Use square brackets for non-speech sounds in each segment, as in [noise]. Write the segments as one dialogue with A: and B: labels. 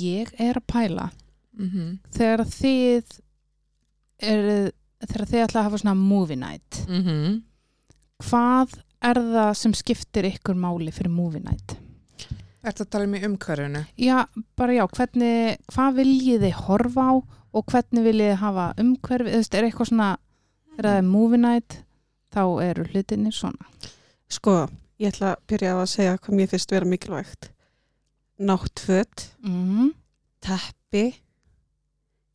A: ég er að pæla
B: mm -hmm.
A: þegar þið er, þegar þið ætla að hafa svona movie night Mhm. hvað er það sem skiptir ykkur máli fyrir movie night?
B: Ertu að tala um í umhverfinu?
A: Já, bara já, hvernig, hvað viljið þið horfa á og hvernig viljið þið hafa umhverfi, þú veist, er eitthvað svona þegar það er movie night þá eru hlutinir svona
C: Sko, ég ætla að byrja á að segja hvað mér finnst vera mikilvægt. Náttföt,
A: mm.
B: Mhm,
C: teppi,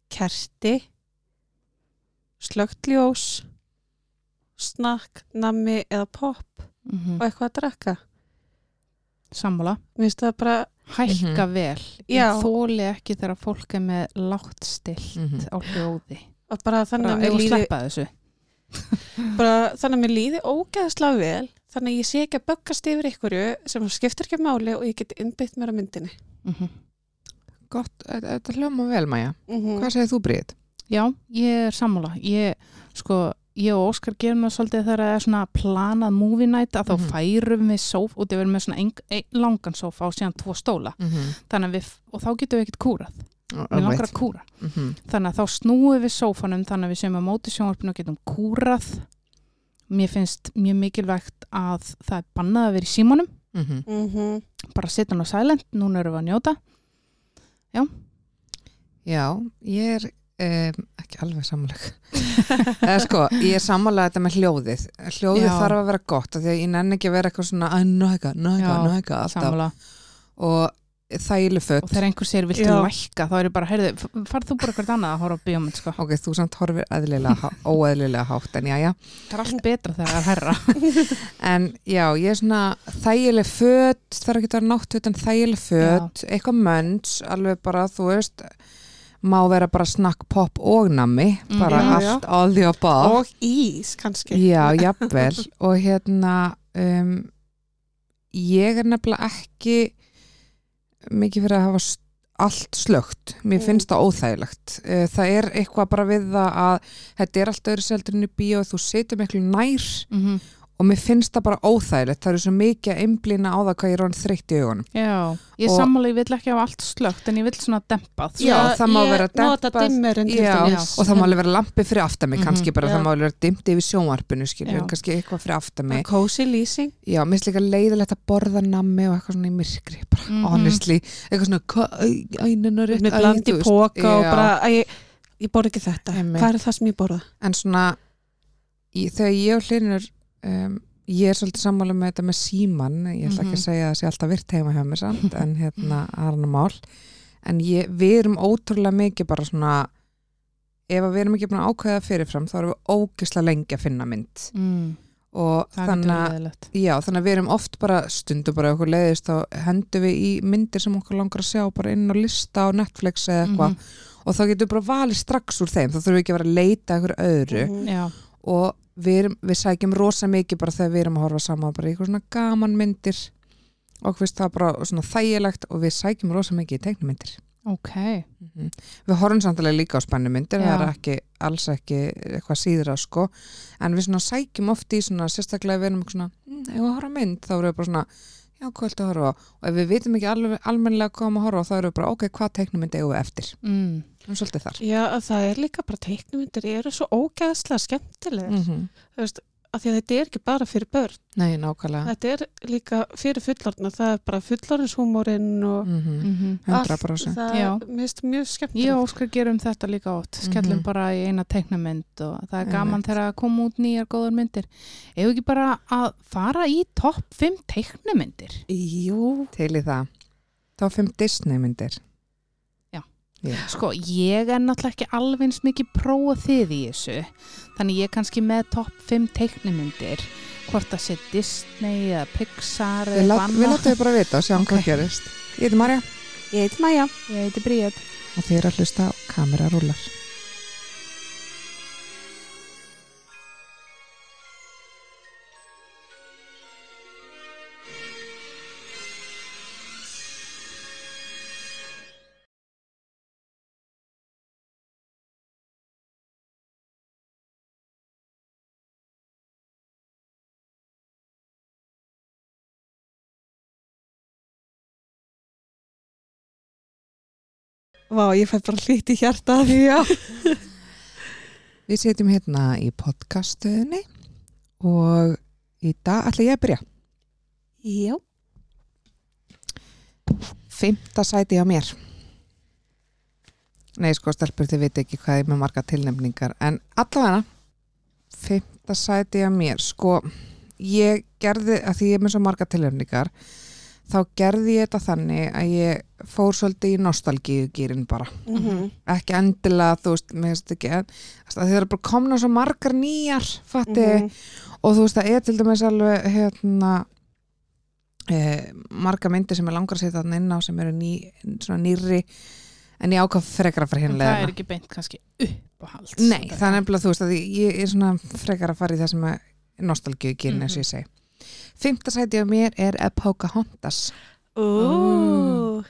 C: kerti, slögtljós, snakk, nammi eða popp
A: Mm
B: mhm.
C: og eitthvað að drekka.
A: Sammála,
C: Mér finnst það bara,
A: hækka
B: Mhm.
A: vel
C: Já.
A: ég þóli ekki þegar fólk er með látt stilt
B: Mhm.
A: á hljóði
C: að bara þannig
A: bara
C: að
A: ef
C: mér
A: að
C: líði,
A: sleppa þessu
C: bara, þannig að mér líði ógeðslega vel, þannig að ég sé ekki að böggast yfir ykkurju sem skiptir ekki máli og ég get innbytt mér að myndinni.
A: mm
B: Gott, þetta þetta hljóma vel, Maja.
C: Mm
A: Mhm.
B: Hvað segir þú, Brit?
A: Já, ég er sammála. Ég, sko, ég og Óskar gerum það svolítið þegar það er svona planað movie night að þá
B: Mhm.
A: færum við sóf og við erum með svona ein, ein, langan sófa og síðan tvo stóla.
B: Mm -hmm.
A: Þannig að við, og þá getum við ekkert kúrað. Við Mhm. langar að Mhm. kúra.
B: mm -hmm.
A: Þannig að þá snúum við sófanum þannig að við séum að móti sjónvarpinu og getum kúrað. Mér finnst mjög mikilvægt að það er bannað að vera í símanum.
B: Mm
A: Mhm.
B: -hmm.
C: Mhm.
A: Bara setja hann á silent, núna erum við að njóta.
B: Já, ég er um, ekki alveg sammáleg [laughs] eða sko, ég er sammála þetta með hljóðið hljóðið
A: Já.
B: þarf að vera gott af því að ég nenni ekki að vera eitthvað svona að næga, næga,
A: Já,
B: næga alltaf
A: Sammála.
B: og þægileg
A: Og
B: fött
A: þegar einhver sér viltu
C: Já.
A: lækka, þá er ég bara, heyrðu, f- farð þú bara hvert annað að horfa á bíómynd, sko.
B: ok, þú samt horfir eðlilega, há- óeðlilega hátt en já, já,
A: Það er allt betra þegar það er herra.
B: en já, ég er svona þægileg fött, þarf ekki að vera náttfött en þægileg fött, eitthvað mönns alveg bara, þú veist má vera bara snakk, popp og nammi
A: Mm,
B: bara
C: já, já.
B: allt, all the above
C: Og ís kannski.
B: Já, jafnvel [laughs] og hérna um, ég er nefnilega ekki mikið fyrir að hafa s- allt slögt, mér
C: Mm.
B: finnst það óþægilegt Eh, það er eitthvað bara við það að þetta er allt öðru seldurinn í bíó þú setur miklu nær og mér finnst það bara óþægilegt það eru svo mikið að einblýna á það hvað ég er hann þreytt í augunum
A: Já, ég
B: Og-
A: sammála, ég vill ekki hafa allt slögt en ég vill svona dempað
B: Já,
A: svona.
B: það má
C: ég
B: vera
C: nota
B: dempað.
C: dimmerinn til
B: Já,
C: dæmis.
B: og það má alveg vera lampi fyrir aftami
A: Mhm.
B: kannski bara
C: Já.
B: það má alveg vera dimmt yfir sjónvarpinu skilur,
A: Já.
B: kannski eitthvað fyrir aftami
C: Cozy lýsing.
B: Já, mér finnst líka leiðilegt að borða nammi og eitthvað svona í myrkri, bara
A: Mhm.
B: honestly, eitthvað svona, "Hva- æ, æ, nennar rétt,
C: með
B: æ,
C: blandi
B: þú veist."
C: póka og
B: Já.
C: bara að ég, ég borð ekki þetta,
B: Einmitt.
C: hvað er það sem ég borða?
B: En svona, í, þegar ég og hlinur, um, ég er svolítið sammála með þetta með síman, ég ætla ekki að
A: Mhm.
B: segja að það sé alltaf virt heima hjá mér samt,
A: [laughs]
B: en hérna, aðrana mál, en ég, við erum ótrúlega mikið bara svona, ef að við erum ekki búin að ákveða fyrirfram, þá erum við ógislega lengi að finna mynd
A: Mm,
B: og
A: það er
B: þannig að
A: dörðilegt
B: Já, þannig að við erum oft bara stundu bara ef okkur leiðist og hendur við í myndir sem okkur langar að sjá bara inn á lista á Netflix eða eitthvað
A: Mhm.
B: og þá getum við bara valið strax úr þeim þá þurfum við ekki að vera að leita að eitthvað öðru
C: Mhm.
A: Mhm. Já,
B: og við, erum, við sækjum rosa mikið bara þegar við erum að horfa saman bara í eitthvað svona gaman myndir og okkur finnst það bara svona þægilegt og við sækjum rosa mikið í teiknumyndir
A: ok
B: Við horfum samtalið líka á spennumyndir það
A: Já.
B: er ekki, alls ekki eitthvað síðra sko, en við svona sækjum oft í svona, sérstaklega ef við erum eitthvað svona "Mm, ef við horfum á mynd, þá erum við bara svona já, hvað ættu að horfa á, og ef við vitum ekki alveg, almennilega hvað um að horfa á, þá erum við bara ok, hvað teiknumynd eigum við eftir,
A: mm.
B: við erum svolítið þar
C: Já, að það er líka bara teiknumindir, ég eru svo ógæðslega skemmtilega,
B: mm -hmm.
C: þú veist, af því að þetta er ekki bara fyrir börn,
B: Nei, nákvæmlega
C: þetta er líka fyrir fullorðna, það er bara fullorðinshúmorinn og
B: mm -hmm.
A: Mm -hmm.
C: allt,
B: 100%
C: það
A: Já.
C: er mist mjög
A: Ég og
C: skemmtilegt.
A: Óskar gerum þetta líka oft skellum
B: Mhm.
A: bara í eina teiknamynd og það er gaman
B: Einmitt.
A: þegar að koma út nýjar góðar myndir Ef ekki bara að fara í topp 5 teiknamyndir
C: Jú,
B: til í það þá fimm Disneymyndir
A: Já.
B: Já.
A: Sko, ég er náttúrulega ekki alveg eins mikið prófa þið í þessu þannig ég er kannski með topp 5 teiknumyndir hvort það sé Disney eða Pixar
B: Við,
A: eða
B: lát, við
A: banna
B: látum þau bara vita og sjáum
A: Ok.
B: hvað gerist Ég heiti Marja
C: ég heit Maja.
A: Ég heiti Bríð
B: og þið eru að hlusta á Kamera rúlar
C: Vá, ég fæ bara hlýtt í hjarta
B: Já. Við setjum hérna í podcastuðinni og í dag ætla ég að byrja.
C: Já.
B: Fymta sæti á mér. Nei, sko, stelpur, þið veit ekki hvað ég er með marga tilnefningar, en allavega fymta sæti á mér, sko, ég gerði, að því ég er með svo marga tilnefningar, þá gerði ég þetta þannig að ég fór svolítið í nostalgíugýrin bara.
C: Mm
B: Ekki endilega, þú veist, mér veist ekki, en það eru bara komna svo margar nýjar, fatti,
C: Mhm.
B: og þú veist það er til dæmis alveg hérna eh, marga myndir sem ég langar að setja hann inn á sem eru ný, svona nýrri en ég ákvað frekar að fara
A: En
B: hinlega
A: það er ekki beint kannski uppáhalds
B: Nei, það er nefnilega þú veist að ég, ég er svona frekar að fara í það sem er nostalgíu kynni mm
A: Mhm.
B: -hmm. ég segi. Fymta sæti á mér er eh, Pocahontas.
C: Ú,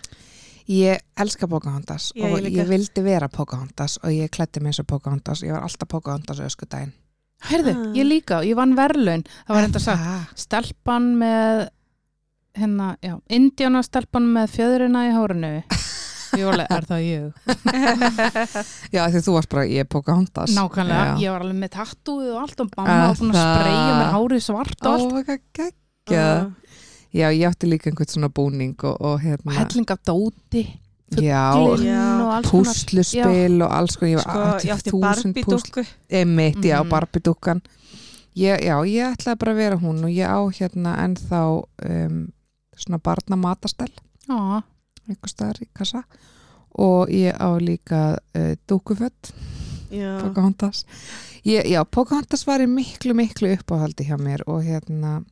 B: Ég elska Pocahontas
C: Já, ég
B: og ég,
C: líka.
B: vildi vera Pocahontas og ég klætti mig eins og Pocahontas. Ég var alltaf Pocahontas öskudaginn.
A: Herðu,
C: Ah.
A: ég líka, ég vann verðlaun það var enda sagt,
B: Ah,
A: stelpan með hérna, já, indjána stelpan með fjöðurina í hórinu Jóle, er það
B: [laughs]
A: ég?
B: [laughs] Já, því þú varst bara ég er Pocahontas.
A: Nákvæmlega,
B: Já.
A: ég var alveg með tattúið og allt og
B: Er
A: mamma var búin að
B: það?
A: spreyja mér hárið svart og allt
B: Ó, hvað geggjað. Já, ég átti líka einhvern svona búning og, og
A: og
B: hérna,
A: helling af dóti
B: já,
A: glinn
C: Já.
A: og alls konar
B: púsluspil og alls konar, ég
C: Sko,
B: var
C: ég átti
B: 80.000
C: Barbie
B: púsl,
C: dúkku.
B: emitt, já,
A: Mhm.
B: barbidúkan. Ég, já, ég ætlaði bara að vera hún og ég á hérna ennþá um, svona barna matastell,
A: Já,
B: einhver staðar í kassa og ég á líka uh, dúkufött,
C: Já.
B: Pocahontas. Ég, já, Pocahontas var í miklu, miklu uppáhaldi hjá mér og hérna,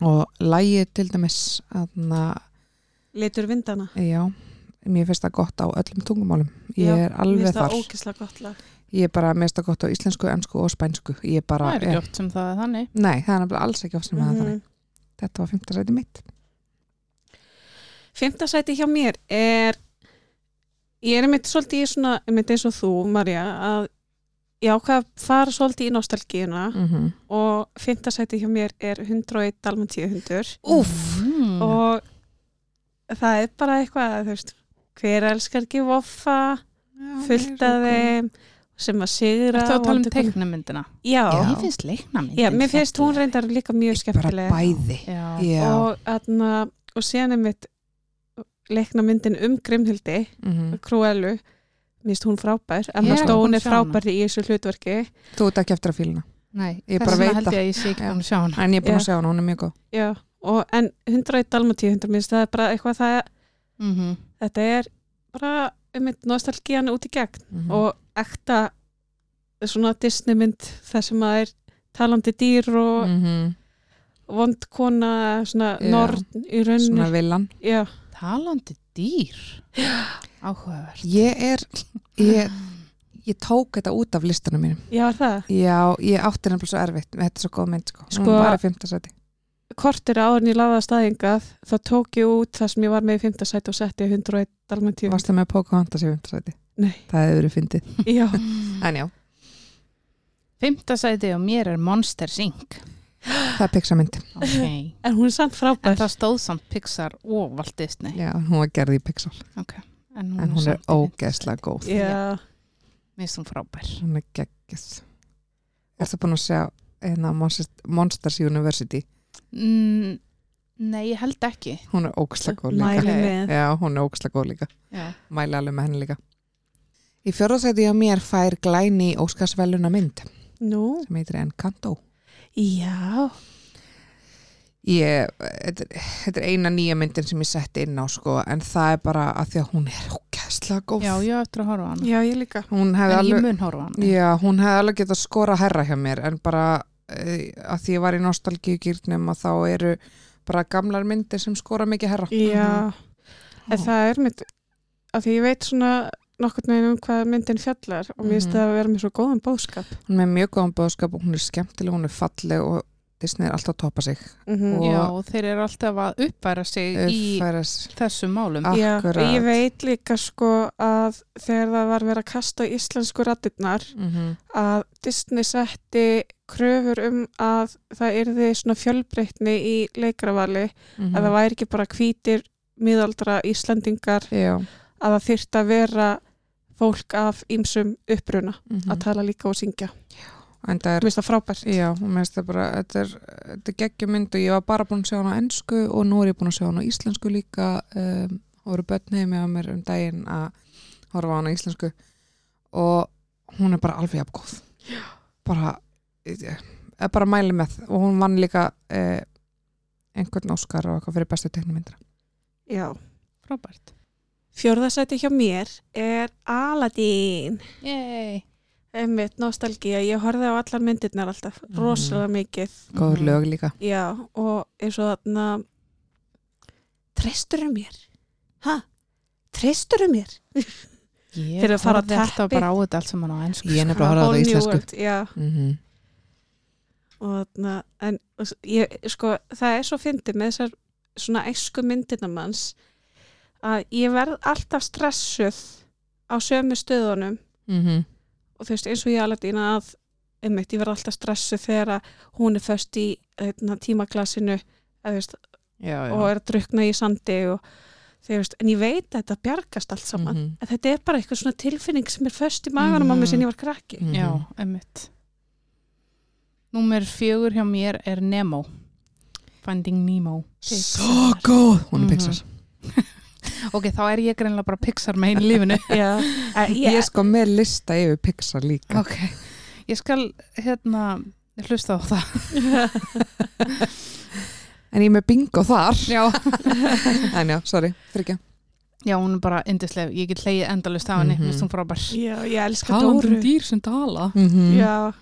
B: og lægið til dæmis, hérna,
C: Litur vindana.
B: Já, mér finnst það gott á öllum tungumálum. Ég
C: Já,
B: er alveg
C: það
B: þar.
C: ógislega gott lag.
B: Ég er bara, mér finnst það gott á íslensku, ennsku og spænsku. Ég bara,
A: það er ekki oft sem það er þannig
B: nei, það er nefnilega alls ekki oft sem það er
C: Mhm.
B: þannig. Þetta var fymta sæti mitt.
C: Fymta sæti hjá mér er ég er einmitt svolítið í svona einmitt eins og þú, Marja að ég ákvað að fara svolítið í nostalgíuna
B: Mm -hmm.
C: og fymta sæti hjá mér er 101 dalmatíu hundur
B: Úff!
A: mm.
C: og það er bara eitthvað þú veist, hver elskar ekki voffa fullt að þeim sem að sigra
A: Ertu að tala um
C: vondu konu-
A: teiknamyndina?
C: Já,
B: Já.
A: Mér finnst leiknamyndin
C: já, mér finnst hún reyndar líka mjög
B: Bara
C: skemmtileg
B: bæði.
A: Já,
B: Já.
C: og, atna, og síðan einmitt leikna myndin um Grimhildi
B: Mhm.
C: Cruellu minnst hún frábær,
A: Ég
C: Emma
A: er ekki búin að
C: Stone er
A: sjá hana.
C: frábær í þessu hlutverki
B: Þú ert ekki eftir að fílna.
A: Nei,
B: Ég
A: þess
B: bara
A: vegna
B: veit
A: held ég að ég sé ekki
B: Já.
A: búin að sjá hana
B: En ég er búin
C: Já.
B: að segja hún, hún er mjög góð.
C: já, og, en 101 Dalmatíu 100 minnst það er bara eitthvað það
A: mm -hmm.
C: þetta er bara um eitt nostalgían út í gegn
B: Mhm.
C: og ekta svona Disney mynd það sem að er talandi dýr og mm.
B: Mhm.
C: vond kona svona
B: Já.
C: norn í rauninni
B: Svona villan.
C: já,
A: Talandi dýr Áhugavert
B: Ég er, ég, ég tók þetta út af listanum mínum.
C: já er það
B: Já, ég átti nefnilega svo erfitt. Þetta er svo góð mynd, sko.
C: Sko-
B: Hún var í fymta sæti.
C: kortir árin í laða staðingað þá tók ég út það sem ég var með í 5. sæti og setti 101 Dalmatíu
B: Varstu með Pocahontas í fymta sæti?
C: Nei.
B: [laughs] Það hefur verið fyndið.
C: já,
A: Mm.
B: En já,
A: Fymta sæti og mér er Monsters Inc
B: það er Pixarmynd.
A: okay.
C: [laughs] en hún er samt frábær
A: En það stóð samt Pixar og Walt Disney
B: Já, hún var gerð í Pixar.
A: En hún,
B: En hún er
A: samt í
B: ógeðslega góð.
C: Já,
A: Mér finnst hún frábær
B: Hún er geggjöð. Ertu búin að sjá hérna, Monsters- Monsters University?
A: mm, Nei, ég held ekki
B: Hún er ógeðslega góð líka.
C: mæli
A: Nei.
C: með
B: Já, hún er ógeðslega góð líka.
A: Já.
B: Mæli alveg með henni líka. Í fjórðasæti á mér fær glæni Óskarsveluna mynd
C: Nú,
B: sem heitir Encanto.
C: já
B: Ég, þetta er- þetta er eina nýja myndin sem ég setti inn á sko, en það er bara að því að hún er ógeðslega góð.
A: Já, ég á eftir að horfa á hana
C: Já, ég líka
B: Hún hefði
A: En
B: alveg...
A: ég mun horfa á hana
B: Já, hún hefði alveg getað skora herra hjá mér en bara uh, að því ég var í nostalgíugýrnum að þá eru bara gamlar myndir sem skora mikið herra.
C: Já, en það er mynd af því ég veit svona nokkurn veginn um hvað myndin fjallar og mér finnst
B: Mhm.
C: það að vera með svo góðan bóðskap
B: Hún er mjög góðan bóðskap og hún er skemmtileg, hún er falleg og Disney er alltaf að toppa sig.
C: Mhm.
B: Og-
A: Já, og þeir eru alltaf að uppfæra sig í
B: Uppfæras,
A: þessum málum
B: Ah.
C: Já, og
B: akkurat.
C: ég veit líka sko að þegar það var verið að kasta á íslensku rattirnar
B: mm
C: að Disney setti kröfur um að það yrði svona fjölbreytni í
B: Mm. mhm.
C: leikravali að það væri ekki bara hvítir miðaldra Íslendingar
B: Já,
C: að það þyrft að vera fólk af ýmsum uppruna
B: mm
C: að tala líka og syngja.
B: en það er
C: Mér finnst það frábært.
B: Já, og mér finnst það bara, þetta er, þetta er geggjum mynd og ég var bara búin að sjá hana á ennsku og nú er ég búin að sjá hana á íslensku líka um, og eru börn heimi á mér um daginn að horfa á hana á íslensku og hún er bara alveg afgóð bara, ég, ég bara mæli með og hún vann líka eh, einhvern Óskar og eitthvað fyrir bestu teknumyndra
C: Já.
A: frábært
C: Fjórðasæti hjá mér er Aladdin.
A: Yay.
C: Einmitt, nostalgía. Ég horfði á allar myndirnar alltaf,
B: Mm.
C: rosalega mikið.
B: góður
A: Mhm.
B: lög líka
C: Já, og eins og þarna Tresturum mér? Ha? Tresturum mér?
A: Ég
C: Þeir eru að fara á
A: horfði alltaf
C: teppi.
A: bara á þetta allt saman á ennsku
B: ég er nefnilega að horfa á það á
C: All New
B: íslensku
C: World, Já,
B: mm -hmm.
C: og þarna en og s- ég, sko, það er svo fyndið með þessar svona æsku myndinamanns að ég verð alltaf stressuð á sömu stöðunum
B: Mm
C: Mhm.
B: -hmm.
C: og þú veist eins og ég alveg dýna að einmitt, ég verð alltaf stressuð þegar að hún er föst í hérna, tímaklasinu eða, þú veist,
B: já, já
C: og er að drukna í sandi og þegar veist, en ég veit að þetta bjargast allt saman
B: Mhm,
C: að þetta er bara eitthvað svona tilfinning sem er föst í maganum á
A: Mhm.
C: mér sem ég var krakki
B: mhm.
A: Já, einmitt Númer fjögur hjá mér er Nemo Finding Nemo
B: svo góð hún er
A: Mhm.
B: Pixar
A: Ok, þá er ég greinlega bara Pixar megin í
C: [laughs]
A: lífinu
C: Já,
B: [laughs] Ég er sko með lista yfir Pixar líka.
A: Ok, ég skal hérna hlusta á það
B: En ég er með bingo þar.
A: Já,
B: En já, sorry, þryggja.
A: [laughs] Já hún er bara yndisleg, ég get hlegið endalust á henni
B: Mhm.
A: mm -hmm. frábær
C: já ég elska Dóru
A: um dýr sem dala
B: Mm
C: Já,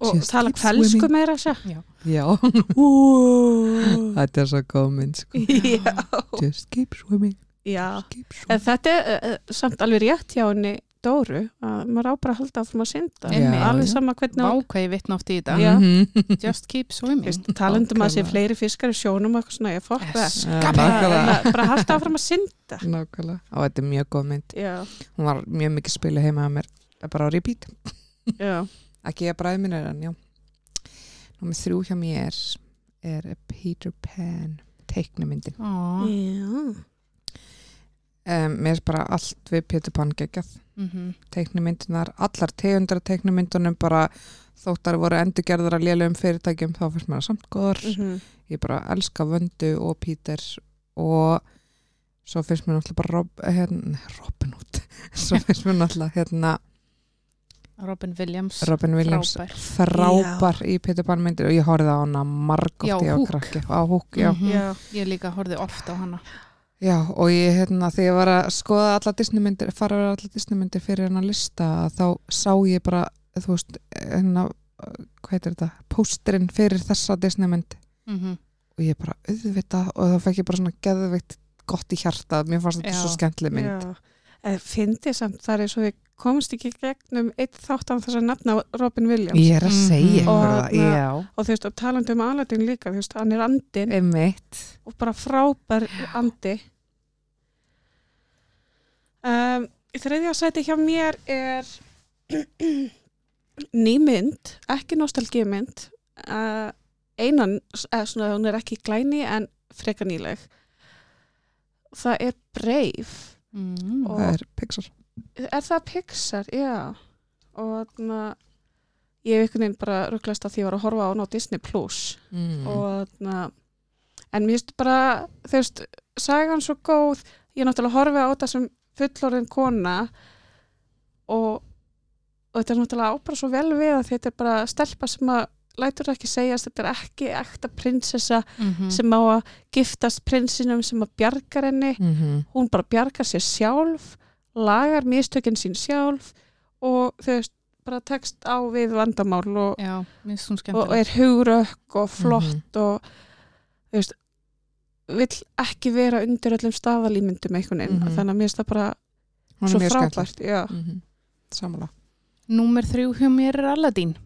C: og
B: um Just
C: tala
B: keep
C: kvelsku
B: swimming.
C: meira þess að
B: Já, [laughs]
C: Ú.
B: þetta er svo góð mynd, sko. [laughs]
C: Já,
B: Just keep swimming,
C: já
B: keep swimming.
C: En þetta er eh, eh, samt alveg rétt hjá henni Dóru, að maður á bara að halda áfram að synda
A: Einmitt.
B: Já,
C: alveg
B: já.
C: sama hvernig hún-
A: Vákvæði vittna oft í þetta
C: Já. [laughs]
B: Mhm.
A: Just keep swimming
C: Veist, talandum að sé
B: Nákvæmlega.
C: fleiri fiskar í sjónum og eitthvað svona, ég fokk það
A: Yes.
B: Já,
C: bara,
B: Nákvæmlega.
C: bara halda áfram að synda
B: Nákvæmlega. Og þetta er mjög góð mynd.
C: Já,
B: Hún var mjög mikið spilu heima að mér. Það er bara á repeat.
C: já
B: Ekki ég bara aðminir en já. Númer þrjú hjá mér er Peter Pan teiknumyndin.
A: Á,
C: Já,
B: Um, mér er bara allt við Peter Pan geggjað.
A: mhm.
B: teiknumyndunar, allar tegundar af teiknumyndunum bara þóttar voru endurgerðar að lélum fyrirtækjum þá fyrst mér að samt góðar
C: mhm.
B: ég bara elska Vöndu og Pítur og svo fyrst mér náttúrulega bara Rob, hérna, Robin Hood [laughs] svo fyrst mér náttúrulega hérna,
A: Robin Williams
B: Robin Williams
A: Frábær.
B: frábær í Peter Pan myndir og ég horfði á hana margótt
A: Já,
B: ég á
A: Hook.
B: krakki á húk, já.
A: Mhm.
C: Já.
A: Ég líka horfði oft á hana
B: já og ég hérna þegar ég var að skoða alla Disneymyndir fara að vera alla Disneymyndir fyrir hennar lista þá sá ég bara þú veist hérna hvað heitir þetta, pósterinn fyrir þessa Disneymynd
A: mm
B: og ég bara auðvita og þá fekk ég bara svona geðveikt gott í hjarta, mér fannst þetta
A: Já.
B: svo skemmtileg mynd
C: Já, en fyndið samt þar er svo við komumst ekki gegnum eitt þáttan þess að nafna Robin Williams
B: ég er að segja
A: Mhm.
B: ykkur
C: Og hérna-
B: það,
C: þarna-
B: já
C: og þú veist, og talandi um Aladin líka, þú veist, hann er andin
B: einmitt,
C: og bara frábær andi um, Þriðja sæti hjá mér er [clears throat] nýmynd, ekki nostalgímynd uh, einan, eða eh, svona hún er ekki glæni en frekar nýleg það er Brave
A: -hmm.
C: Og-
B: það er Pixar
C: er það Pixar, já og þannig að ég hef einhvern veginn bara rugglast að því ég var að horfa á hann á Disney Plus
B: mm.
C: og þannig að en mér finnst bara, þú veist, sagan svo góð ég náttúrulega horfi á þetta sem fullorðin kona og, og þetta er náttúrulega á bara svo vel við að þetta er bara stelpa sem að lætur ekki segjast, þetta er ekki ekta prinsessa
A: Mhm.
C: sem á að giftast prinsinum sem að bjargar henni
B: Mm -hmm.
C: hún bara bjargar sér sjálf lagar mistökinn sín sjálf og þau veist bara tekst á við vandamál og,
A: Já, mér finnst hún
C: og
A: skemmtileg
C: er hugrökk og
B: Mhm.
C: flott og þú veist vill ekki vera undir öllum staðalímyndum einhvern veginn,
B: Mhm.
C: þannig að mér finnst það bara
B: hún
C: svo
B: er mjög skemmtileg
C: frábært já.
B: mm -hmm. samanlega
A: Númer þrjú hjá mér er Aladdin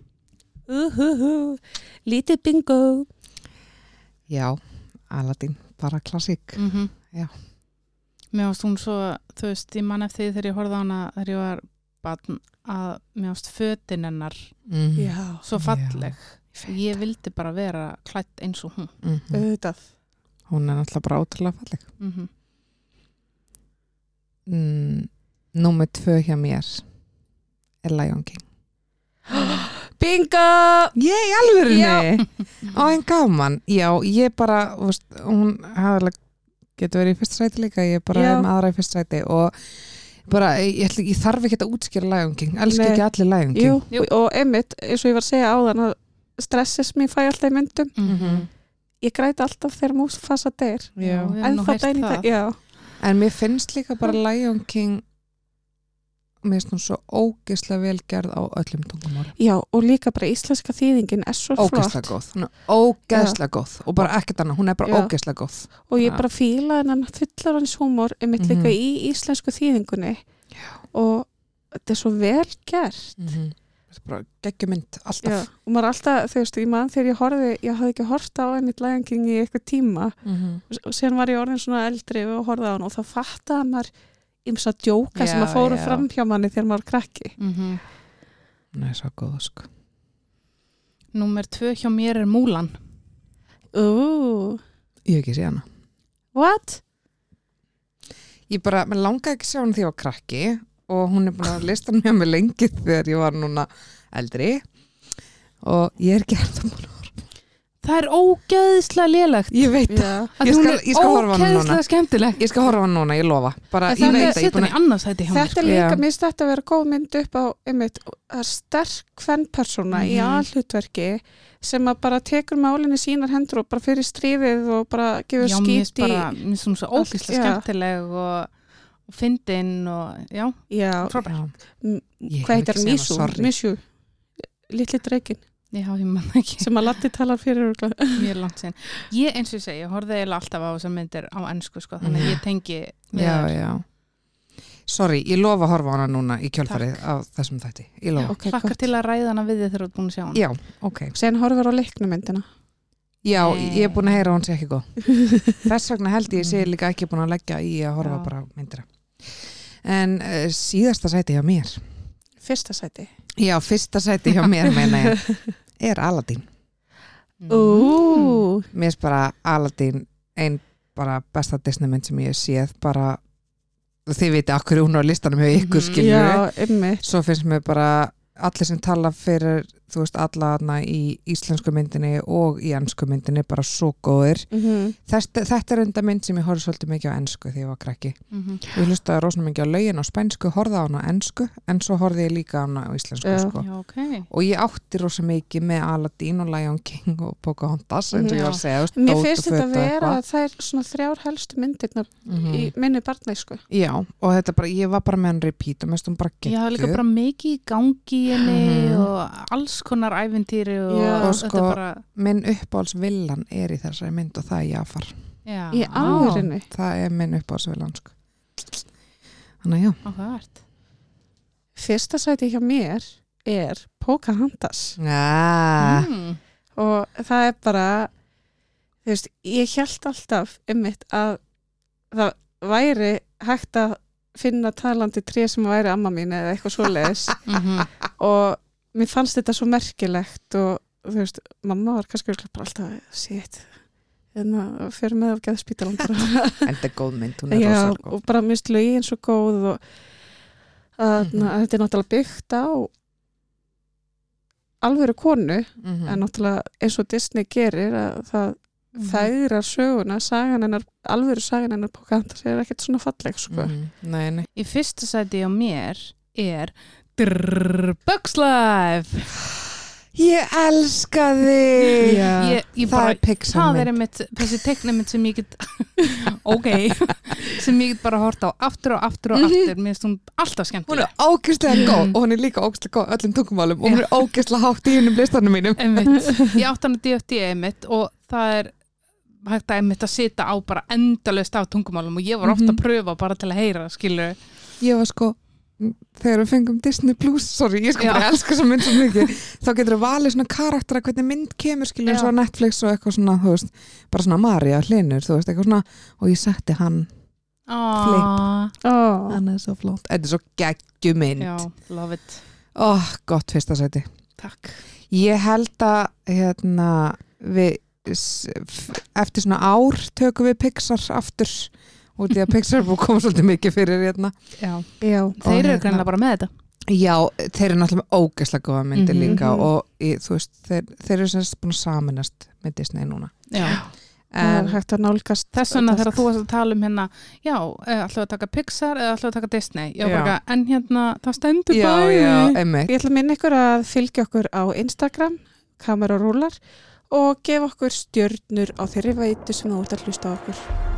C: Uhuhu, lítið bingo
B: Mhm. já, Aladdin, bara klassík
A: mm
B: Já.
A: Mér finnst hún svo, þú veist, ég man eftir því þegar ég horfði á hana þegar ég var batn að mér finnst fötin hennar
B: mm.
C: já,
A: svo falleg Ég vildi bara vera klætt eins og hún
B: mm
C: auðvitað
A: Mhm.
B: hún er náttúrulega bara ótrúlega falleg
A: mm -hmm.
B: mm, Númer tvö hjá mér er Lion King
C: Bingo!
B: Ég alvörunni Ó, en gaman, já, ég bara þú veist, hún hafði getur verið í fyrsta sæti líka, ég bara
C: Já.
B: er með aðra í fyrsta sæti og bara, ég, ætla, ég þarf ekki að útskýra Lion King, elsku
C: Nei.
B: ekki allir Lion King
C: Jú, og- og einmitt, eins og ég var að segja áðan að stressis mér fæ alltaf í myndum ég græti alltaf þegar Mufasa deyr
A: Já, við
C: en
A: hefum Mm, nú
C: það
A: heyrt
C: dæni
A: það.
C: það, já
B: En mér finnst líka bara Lion King mér finnst hún svo ógeðslega velgerð á öllum tungumál
C: já, og líka bara íslenska þýðingin er svo
B: Ógeðslega
C: flott
B: góð, hún er ógeðslega góð og bara ekkert annað, hún er bara
C: Já.
B: ógeðslega góð
C: og ég
B: Já.
C: bara fíla hennan fullar hans húmor einmitt
B: Mhm.
C: líka í íslensku þýðingunni og þetta er svo vel gert
B: mm -hmm. bara geggjumynd
C: já.
B: alltaf
C: og maður alltaf, þú veist, ég mann þegar ég horfði ég hafði ekki hort á einmitt læganging í eitthvað tíma
B: mm -hmm.
C: og sen var ég orðin svona eldri og horfði á hann og það fattaði maður ymsa djóka sem
B: Já,
C: að fóru
B: já.
C: fram hjá manni þegar maður var krakki
A: Mhm.
B: Hún er svo góð sko
A: Númer tvö hjá mér er Múlan.
C: Ooh,
B: Ég hef ekki sé hana
C: what?
B: Ég bara, mér langaði ekki að sjá hana því ég var krakki og hún er búin að lista hann hjá mig lengi þegar ég var núna eldri og ég er ekki hægt að búin að
A: Það er ógeðislega lélegt.
B: Ég veit það,
C: Já.
A: Af því
B: Ég
A: hún
B: skal-
A: er
B: ég skal horfa á hana núna.
A: Ógeðislega skemmtileg.
B: ég skal horfa á hana núna, ég lofa bara,
A: Það
B: ég
A: er að
B: veit það, ég er
A: setja
B: búin
A: hann
B: að
A: í annars hætti hjá mér.
C: Þetta er
B: sko.
C: líka,
B: Já.
C: mér finnst þetta að vera góð mynd upp á einmitt, það er sterk kvennpersona í
A: Mhm.
C: aðhlutverki sem að bara tekur málinni sínar hendur og bara fyrir stríðið og bara gefur
A: Já, mér
C: skýt
A: finnst
C: í
A: bara, mér finnst hún svo
C: Allt,
A: ógeðislega
C: já.
A: skemmtileg og, og fyndin og, já,
C: Já,
B: Já.
C: m-
B: Ég hef
C: hvað heitir
B: ekki séð hana,
C: Mísú?
B: sorry.
C: Mísú, litli dreikin
A: ég hafa því mann
B: [laughs]
A: ekki
C: sem að Latti talar fyrir örugglega.
A: mjög langt sinn. Ég, eins og ég segi, ég horfði eiginlega alltaf á þessar myndir á ennsku, sko, þannig að
B: Já.
A: ég tengi við
B: Já,
A: þær.
B: já. Sorry, ég lofa að horfa á hana núna í kjölfarið á þessum þætti. Ég lofa.
C: Ok,
A: Hlakkar
C: gott.
A: til að ræða hana við þið þegar þú ert búin að sjá hana.
B: Já, ok.
C: Sen horfur á leiknumyndina
B: Já, ég er búin að heyra að hún sé [laughs] ekki góð. Þess vegna held ég sé líka ekki búin að leggja í að horfa
A: Já.
B: bara á myndina. En uh, síðasta sæti hjá mér.
C: Fyrsta sæti
B: Já, fyrsta sæti hjá mér meina ég [laughs] er Aladin.
A: Mm.
C: Ú,
B: Mér er bara Aladin einn bara besta Disneymynd sem ég hef séð bara þið viti okkur hún á listanum hjá ykkur
A: Mhm.
B: skilur
C: Já, einmitt
B: svo finnst mér bara allir sem tala fyrir þú veist alla þarna í íslensku myndinni og í ennsku myndinni bara svo góðir
C: Mhm.
B: þetta, þetta er enda mynd sem ég horfði svolítið mikið á ennsku þegar ég var krakki
A: Mhm.
B: og ég hlustaði rosa mikið á lögin á spænsku horfði á hana á ennsku en svo horfði ég líka á hana á íslensku
C: Já.
B: sko.
A: Já, ok.
B: og ég átti rosa mikið með Aladdin og Lion King og Pocahontas eins og ég var að segja þú veist,
C: Mér
B: dót
C: finnst
B: og föt
C: þetta
B: og
C: vera
B: eitthvað.
C: að það er svona þrjár helstu myndirnar
B: Mhm.
C: í minni barnæsku
B: Já, og þetta bara, ég var bara með hann repeat og mér stum bara
A: Ég hafa líka
B: geggjuð.
A: bara mikið í gangi í henni
B: Mhm.
A: og alls konar æfintýri og,
C: Já.
B: Og
A: þetta
B: sko-
A: bara,
B: minn uppáhaldsvillan er í þessari mynd og það er Jafar
A: já.
C: í
A: Ah.
C: árinni
B: það er minn uppáhaldsvillan sko. þannig að já,
A: Áhugavert.
C: Fyrsta sæti hjá mér er Pocahontas
B: ah.
A: Mm.
C: og það er bara þú veist, ég held alltaf einmitt að það væri hægt að finna talandi tré sem væri amma mín eða eitthvað svoleiðis
A: Mhm.
C: og mér fannst þetta svo merkilegt og þú veist, mamma var kannski örugglega bara alltaf, shit hérna, fyrir með af geðspítalan bara
B: en þetta er góð mynd, hún er
C: Já,
B: rosalega góð
C: og bara mist lögin svo góð og að,
B: Mhm.
C: na, þetta er náttúrulega byggt á alvöru konu
B: mm
A: Mhm.
C: en náttúrulega eins og Disney gerir að það þægrar söguna sagan hennar, alvöru sagan hennar Pocahontas er ekkert svona falleg sko.
A: Mhm.
B: Mhm. nei, nei.
A: Í fyrsta sæti á mér er drrrr, Bugs Life.
B: ég elska þig
A: Ég, ég
B: það
A: bara,
B: er Pixar
A: það er
B: mynd
A: einmitt, þessi teiknamind sem ég get, [laughs] ok, sem ég get bara horta á aftur og aftur og
B: Mhm.
A: aftur. Mér finnst hún alltaf
B: hún er
A: skemmtileg. Mm.
B: ógeðslega góð og hún er líka ógeðslega góð á öllum tungumálum og hún er ógeðslega hátt í hennum listanum mínum [laughs]
A: Einmitt. Ég átt hann að DFD einmitt og það er hægt að einmitt að sita á bara endalaust á tungumálum og ég var ofta að
B: Mhm.
A: pröfa bara til að heyra, skilur.
B: ég var sko m, þegar við fengum Disney Plus, sorry, ég sko
A: Já.
B: bara elska þessa mynd svo mikið, þá getur við valið svona karaktera hvernig mynd kemur skilur
A: Já.
B: svo á Netflix og eitthvað svona, þú veist bara svona Maria Hlinur, þú veist, eitthvað svona og ég setti hann,
A: Ah,
C: Ó,
B: hann er svo flott þetta er svo geggjumynd,
A: já, love it.
B: oh, gott fyrsta sæti
A: Takk.
B: ég held að hérna, við s- f- eftir svona ár tökum við Pixar aftur út í að Pixarbook kom svolítið mikið fyrir hérna
A: Já.
C: já,
A: Þeir eru
B: hérna-
A: greinlega bara með þetta.
B: Já, þeir eru náttúrulega með ógeðslega góða myndir
A: Mhm.
B: líka
C: Mhm.
B: og í, þú veist, þeir, þeir eru semst búin að saminast með Disney núna
A: Já.
C: það
B: en,
C: er hægt að nálgast
A: Þess vegna þegar þú varst að tala um hérna, já, alltaf að taka Pixar eða alltaf að taka Disney. Já,
B: Já.
A: bara, eitthvað, en hérna, það stendur
B: Já,
A: bæði.
B: já, einmitt
C: Ég ætla að minna ykkur að fylgja okkur á Instagram, kamerarúlar og gefa okkur stjörnur á þeirri veitu sem þú ert að hlusta á okkur.